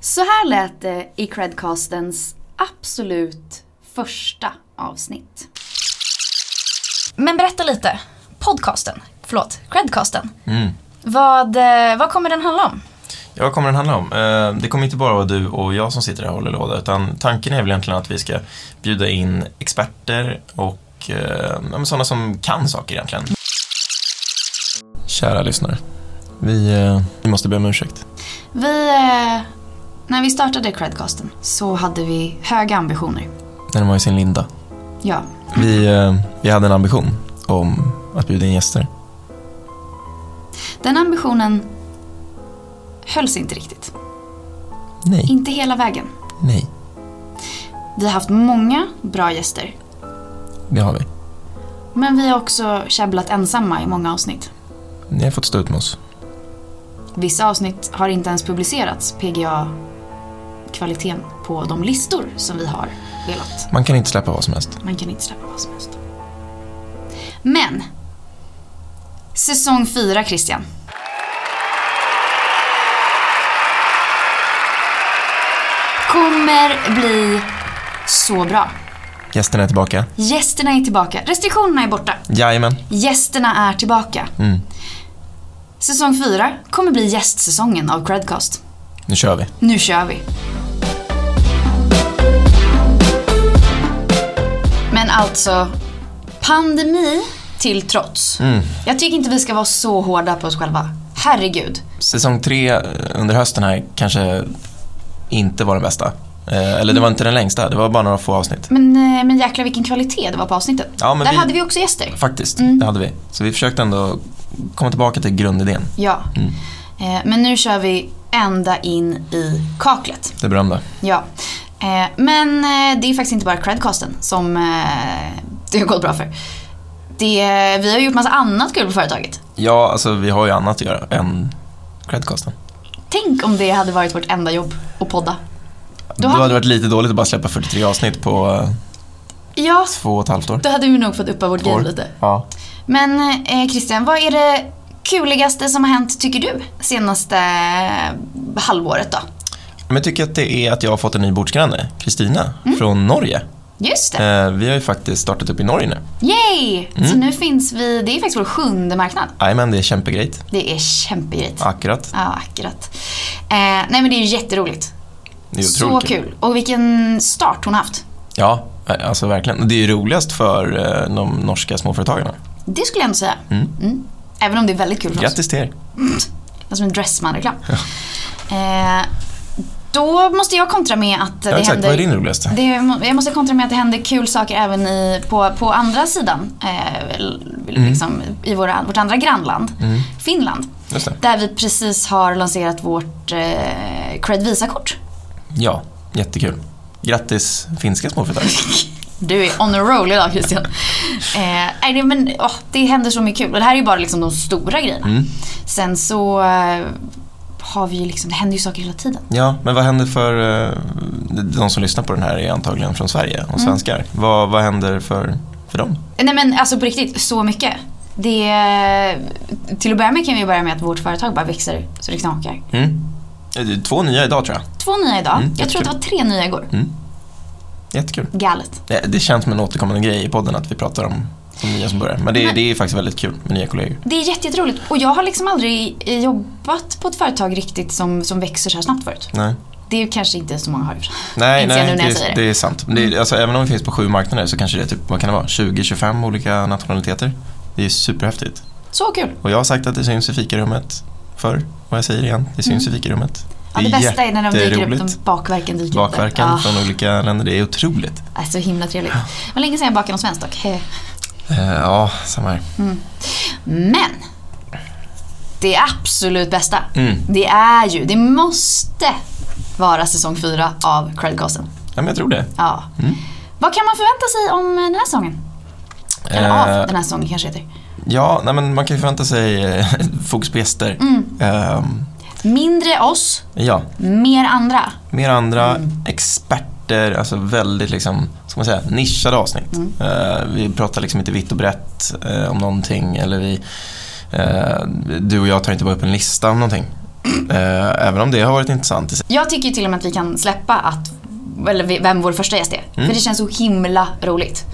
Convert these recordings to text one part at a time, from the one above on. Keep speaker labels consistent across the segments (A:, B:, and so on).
A: Så här lät det i Credcastens absolut första avsnitt.
B: Men berätta lite. Podcasten, förlåt, Credcasten.
C: Mm.
B: Vad, eh, vad kommer den handla om?
C: Ja, vad kommer den handla om? Eh, Det kommer inte bara vara du och jag som sitter här och håller låda, utan tanken är väl egentligen att vi ska bjuda in experter och eh, ja, men sådana som kan saker egentligen. Kära lyssnare, vi, eh, vi måste be om ursäkt.
A: Vi, eh, när vi startade Credcasten så hade vi höga ambitioner.
C: När den var i sin linda.
A: Ja,
C: Vi, eh, vi hade en ambition om att bjuda in gäster.
A: den ambitionen hölls inte riktigt.
C: Nej,
A: Inte hela vägen.
C: nej,
A: Vi har haft många bra gäster,
C: det har vi.
A: men vi har också käbblat ensamma i många avsnitt.
C: Ni har fått stå ut med oss.
A: Vissa avsnitt har inte ens publicerats, PGA kvaliteten på de listor som vi har velat.
C: Man kan inte släppa vad som helst.
A: Man kan inte släppa vad som helst. Men! Säsong fyra, Christian. Kommer bli så bra.
C: Gästerna är tillbaka.
A: Gästerna är tillbaka. Restriktionerna är borta.
C: Jajamän.
A: Gästerna är tillbaka.
C: Mm.
A: Säsong fyra kommer bli gästsäsongen av Credcast.
C: Nu kör vi.
A: Nu kör vi! Men alltså, pandemi till trots.
C: Mm.
A: Jag tycker inte vi ska vara så hårda på oss själva. Herregud.
C: Säsong tre eh, under hösten här kanske inte var den bästa. Eh, Eller
A: Mm.
C: det var inte den längsta, det var bara några få avsnitt.
A: Men, eh, men jäklar vilken kvalitet det var på avsnittet.
C: Ja, men
A: Där
C: vi-
A: hade vi också gäster.
C: Faktiskt,
A: Mm.
C: det hade vi. Så vi försökte ändå komma tillbaka till grundidén,
A: Ja.
C: Mm.
A: Eh, Men nu kör vi ända in i kaklet.
C: det berömda.
A: Ja. Eh, Men eh, det är faktiskt inte bara Credcasten som eh, det har gått bra för. Det, eh, vi har gjort massa annat kul på företaget.
C: Ja, alltså vi har ju annat att göra än Credcasten.
A: Tänk om det hade varit vårt enda jobb, att podda.
C: Då
A: hade-
C: hade det varit lite dåligt att bara släppa 43 avsnitt på eh,
A: Ja,
C: två och ett halvt år.
A: då hade vi nog fått uppa vårt game
C: År.
A: lite.
C: Ja.
A: Men eh, Christian, vad är det kuligaste som har hänt, tycker du, senaste eh, halvåret då?
C: Men jag tycker att det är att jag har fått en ny bordsgranne, Kristina,
A: Mm.
C: från Norge.
A: Just det.
C: Eh, Mm. Vi har ju faktiskt startat upp i Norge nu.
A: Yay! Så nu finns vi, det är faktiskt vår sjunde marknad.
C: Jajamän, det är kämpegrejt.
A: Det är kämpegrejt.
C: Akkurat.
A: Ja, akkurat. Eh, nej men det är ju jätteroligt.
C: Det är
A: Så
C: otroligt
A: kul. Och vilken start hon haft.
C: Ja, alltså verkligen. Det är ju roligast för eh, de norska småföretagarna.
A: Det skulle jag ändå säga. Mm. Även om det är väldigt kul för oss.
C: Grattis till er.
A: Det är som Alltså en Dressman-reklam. Eh, då måste jag kontra med att det
C: Ja, exakt.
A: händer...
C: Vad är din roligaste?
A: Det, må- jag måste kontra med att det händer kul saker även i, på, på andra sidan. Eh,
C: Mm.
A: l- liksom, I våra, vårt andra grannland, Finland.
C: Just det.
A: Där vi precis har lanserat vårt eh, Cred Visa-kort.
C: Ja, jättekul. Grattis finska småföretag.
A: Du är on a roll idag Christian. Eh, nej, det- men, åh, det händer så mycket kul. Och det här är ju bara liksom de stora grejerna.
C: Mm.
A: Sen så eh, har vi ju liksom, det händer ju saker hela tiden.
C: Ja, men vad händer för eh, de som lyssnar på den här är antagligen från Sverige
A: Mm.
C: och svenskar. Vad, vad händer för, för dem?
A: Nej men alltså på riktigt, så mycket. Det, till att börja med kan vi börja med att vårt företag bara växer så det knakar.
C: Mm. Eh, det är Två nya idag tror jag.
A: Två nya idag.
C: Mm,
A: jag tror att det var tre nya igår.
C: Jättekul.
A: Galet.
C: Det, det känns som en återkommande grej i podden att vi pratar om de nya som börjar. Men det,
A: Men-
C: det är faktiskt väldigt kul med nya kollegor.
A: Det är jätte- jätteroligt. Och jag har liksom aldrig eh, jobbat på ett företag riktigt som, som växer så här snabbt förut.
C: Nej.
A: Det är kanske inte så många har gjort.
C: Nej,
A: Inser jag nu
C: nej
A: när
C: det,
A: jag säger
C: är-
A: det.
C: det är sant. Det är, alltså, även om vi finns på sju marknader så kanske det är typ, vad kan det vara, 20-25 olika nationaliteter. Det är superhäftigt.
A: Så kul.
C: Och jag har sagt att det syns i fikarummet förr och jag säger det igen, det syns i fikarummet.
A: Mm. Ja, det, bästa är när de dyker upp,
C: jätteroligt.
A: de bakverken dyker
C: Bakverkan
A: upp. där.
C: från olika länder, det är otroligt.
A: Ah, är så himla trevligt. Det var länge sedan jag bakade något svenskt dock. He.
C: Eh, ja, samma här.
A: Men! Det absolut bästa,
C: Mm.
A: det är ju, det måste vara säsong fyra av Credcasten.
C: Ja, men jag tror det.
A: Ja. Vad kan man förvänta sig om den här säsongen? Eller av
C: Eh,
A: den här säsongen kanske heter.
C: ja, nej, men man kan ju förvänta sig eh, fokus på gäster.
A: Mm.
C: Ehm,
A: Mindre oss,
C: ja,
A: mer andra.
C: mer andra experter, alltså väldigt liksom, ska man säga, nischade avsnitt.
A: Mm.
C: Eh, vi pratar liksom inte vitt och brett eh, om någonting eller vi, eh, du och jag tar inte bara upp en lista om någonting. Eh, även om det har varit intressant i sig.
A: Jag tycker ju till och med att vi kan släppa att, eller vi- vem vår första gäst är.
C: Mm.
A: För det känns så himla roligt.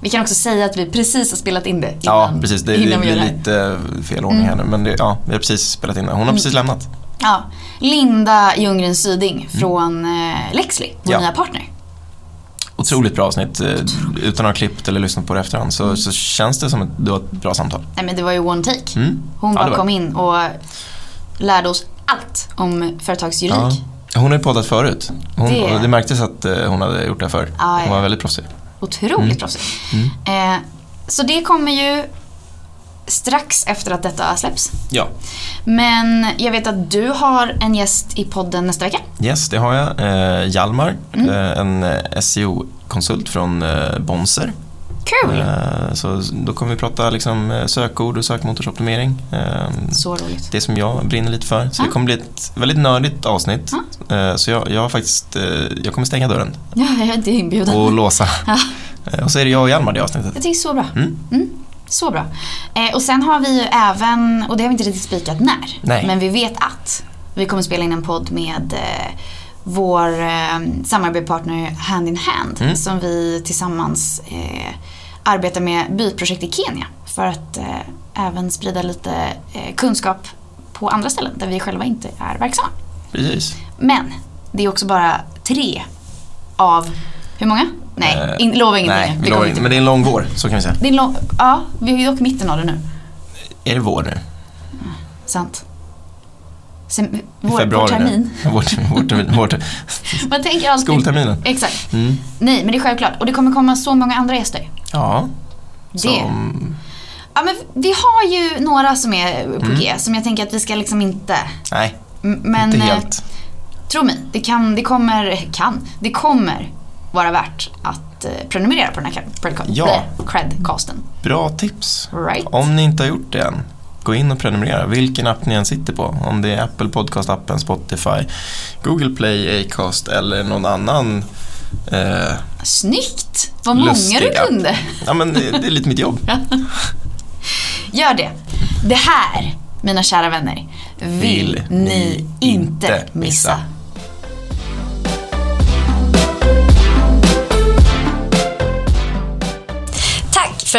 A: Vi kan också säga att vi precis har spelat in det innan,
C: Ja, precis. Det, det
A: innan vi gör
C: blir
A: det här. Mm.
C: lite fel ordning här nu. Men det, ja, vi har precis spelat in det. Hon har precis lämnat.
A: Ja. Linda Ljunggren Syding från eh, Lexley, vår
C: Mm. Ja.
A: nya partner.
C: Otroligt bra avsnitt. Eh, Utan att ha klippt eller lyssnat på det efterhand så, så känns det som att det var ett bra samtal.
A: Nej men det var ju one take.
C: Mm.
A: Hon
C: Ja, det
A: bara
C: var-
A: kom in och lärde oss allt om företagsjuridik.
C: Ja. Hon har ju poddat förut. Hon,
A: Det-
C: det... det märktes att eh, hon hade gjort det här förr.
A: Ja,
C: Hon
A: ja.
C: var väldigt proffsig.
A: Otroligt
C: Mm.
A: proffsig. Eh, så det kommer ju strax efter att detta släpps.
C: Ja.
A: Men jag vet att du har en gäst i podden nästa vecka.
C: Yes, det har jag. Eh, Hjalmar,
A: Mm.
C: eh, en eh, SEO-konsult från eh, Bonser.
A: Kul!
C: Eh, så då kommer vi prata liksom, eh, sökord och sökmotorsoptimering. Eh,
A: Så roligt.
C: det som jag brinner lite för. Så det
A: Ja.
C: kommer bli ett väldigt nördigt avsnitt. Eh, så jag, jag, har faktiskt, eh, jag kommer stänga dörren
A: Ja, jag är inte inbjuden.
C: och låsa. Eh, och så är det jag och Hjalmar i det avsnittet.
A: Jag tycker så bra.
C: Mm.
A: Så bra. Eh, och sen har vi ju även, och det har vi inte riktigt spikat när,
C: Nej.
A: men vi vet att vi kommer spela in en podd med eh, vår eh, samarbetspartner Hand in Hand
C: Mm.
A: som vi tillsammans eh, arbetar med byprojekt i Kenya för att eh, även sprida lite eh, kunskap på andra ställen där vi själva inte är verksamma.
C: Precis.
A: Men det är också bara tre av, hur många? Nej,
C: Eh,
A: in, lova ingenting.
C: Nej,
A: Det
C: vi
A: kommer
C: lovar
A: inte.
C: inte. Men det är en lång vår, så kan vi säga.
A: Det är en lång, ja, vi är ju dock i mitten av det nu.
C: Är det vår nu?
A: Sant. Sen,
C: I
A: vår, vår
C: februari nu?
A: termin.
C: Vår, vår, termin, vår, ter-
A: Man tänker alltid...
C: skolterminen.
A: Exakt.
C: Mm.
A: Nej, men det är självklart. Och det kommer komma så många andra gäster.
C: Ja, mm,
A: Det.
C: som...
A: Ja, men vi har ju några som är på G, som jag tänker att vi ska liksom inte...
C: Nej,
A: m- Men
C: Mm. inte
A: eh,
C: helt.
A: tro mig, det, kan, det kommer... Kan? Det kommer vara värt att eh, prenumerera på den här credca-
C: Ja.
A: credcasten.
C: Bra tips.
A: Right?
C: Om ni inte har gjort det än, gå in och prenumerera. Vilken app ni än sitter på. Om det är Apple Podcast-appen, Spotify, Google Play, Acast eller någon annan. Eh,
A: Snyggt! Vad många
C: Lustig
A: du
C: app.
A: kunde.
C: ja, men det, det är lite mitt jobb.
A: Gör det. Det här, mina kära vänner, vill,
C: Vill
A: ni inte missa.
B: Tack för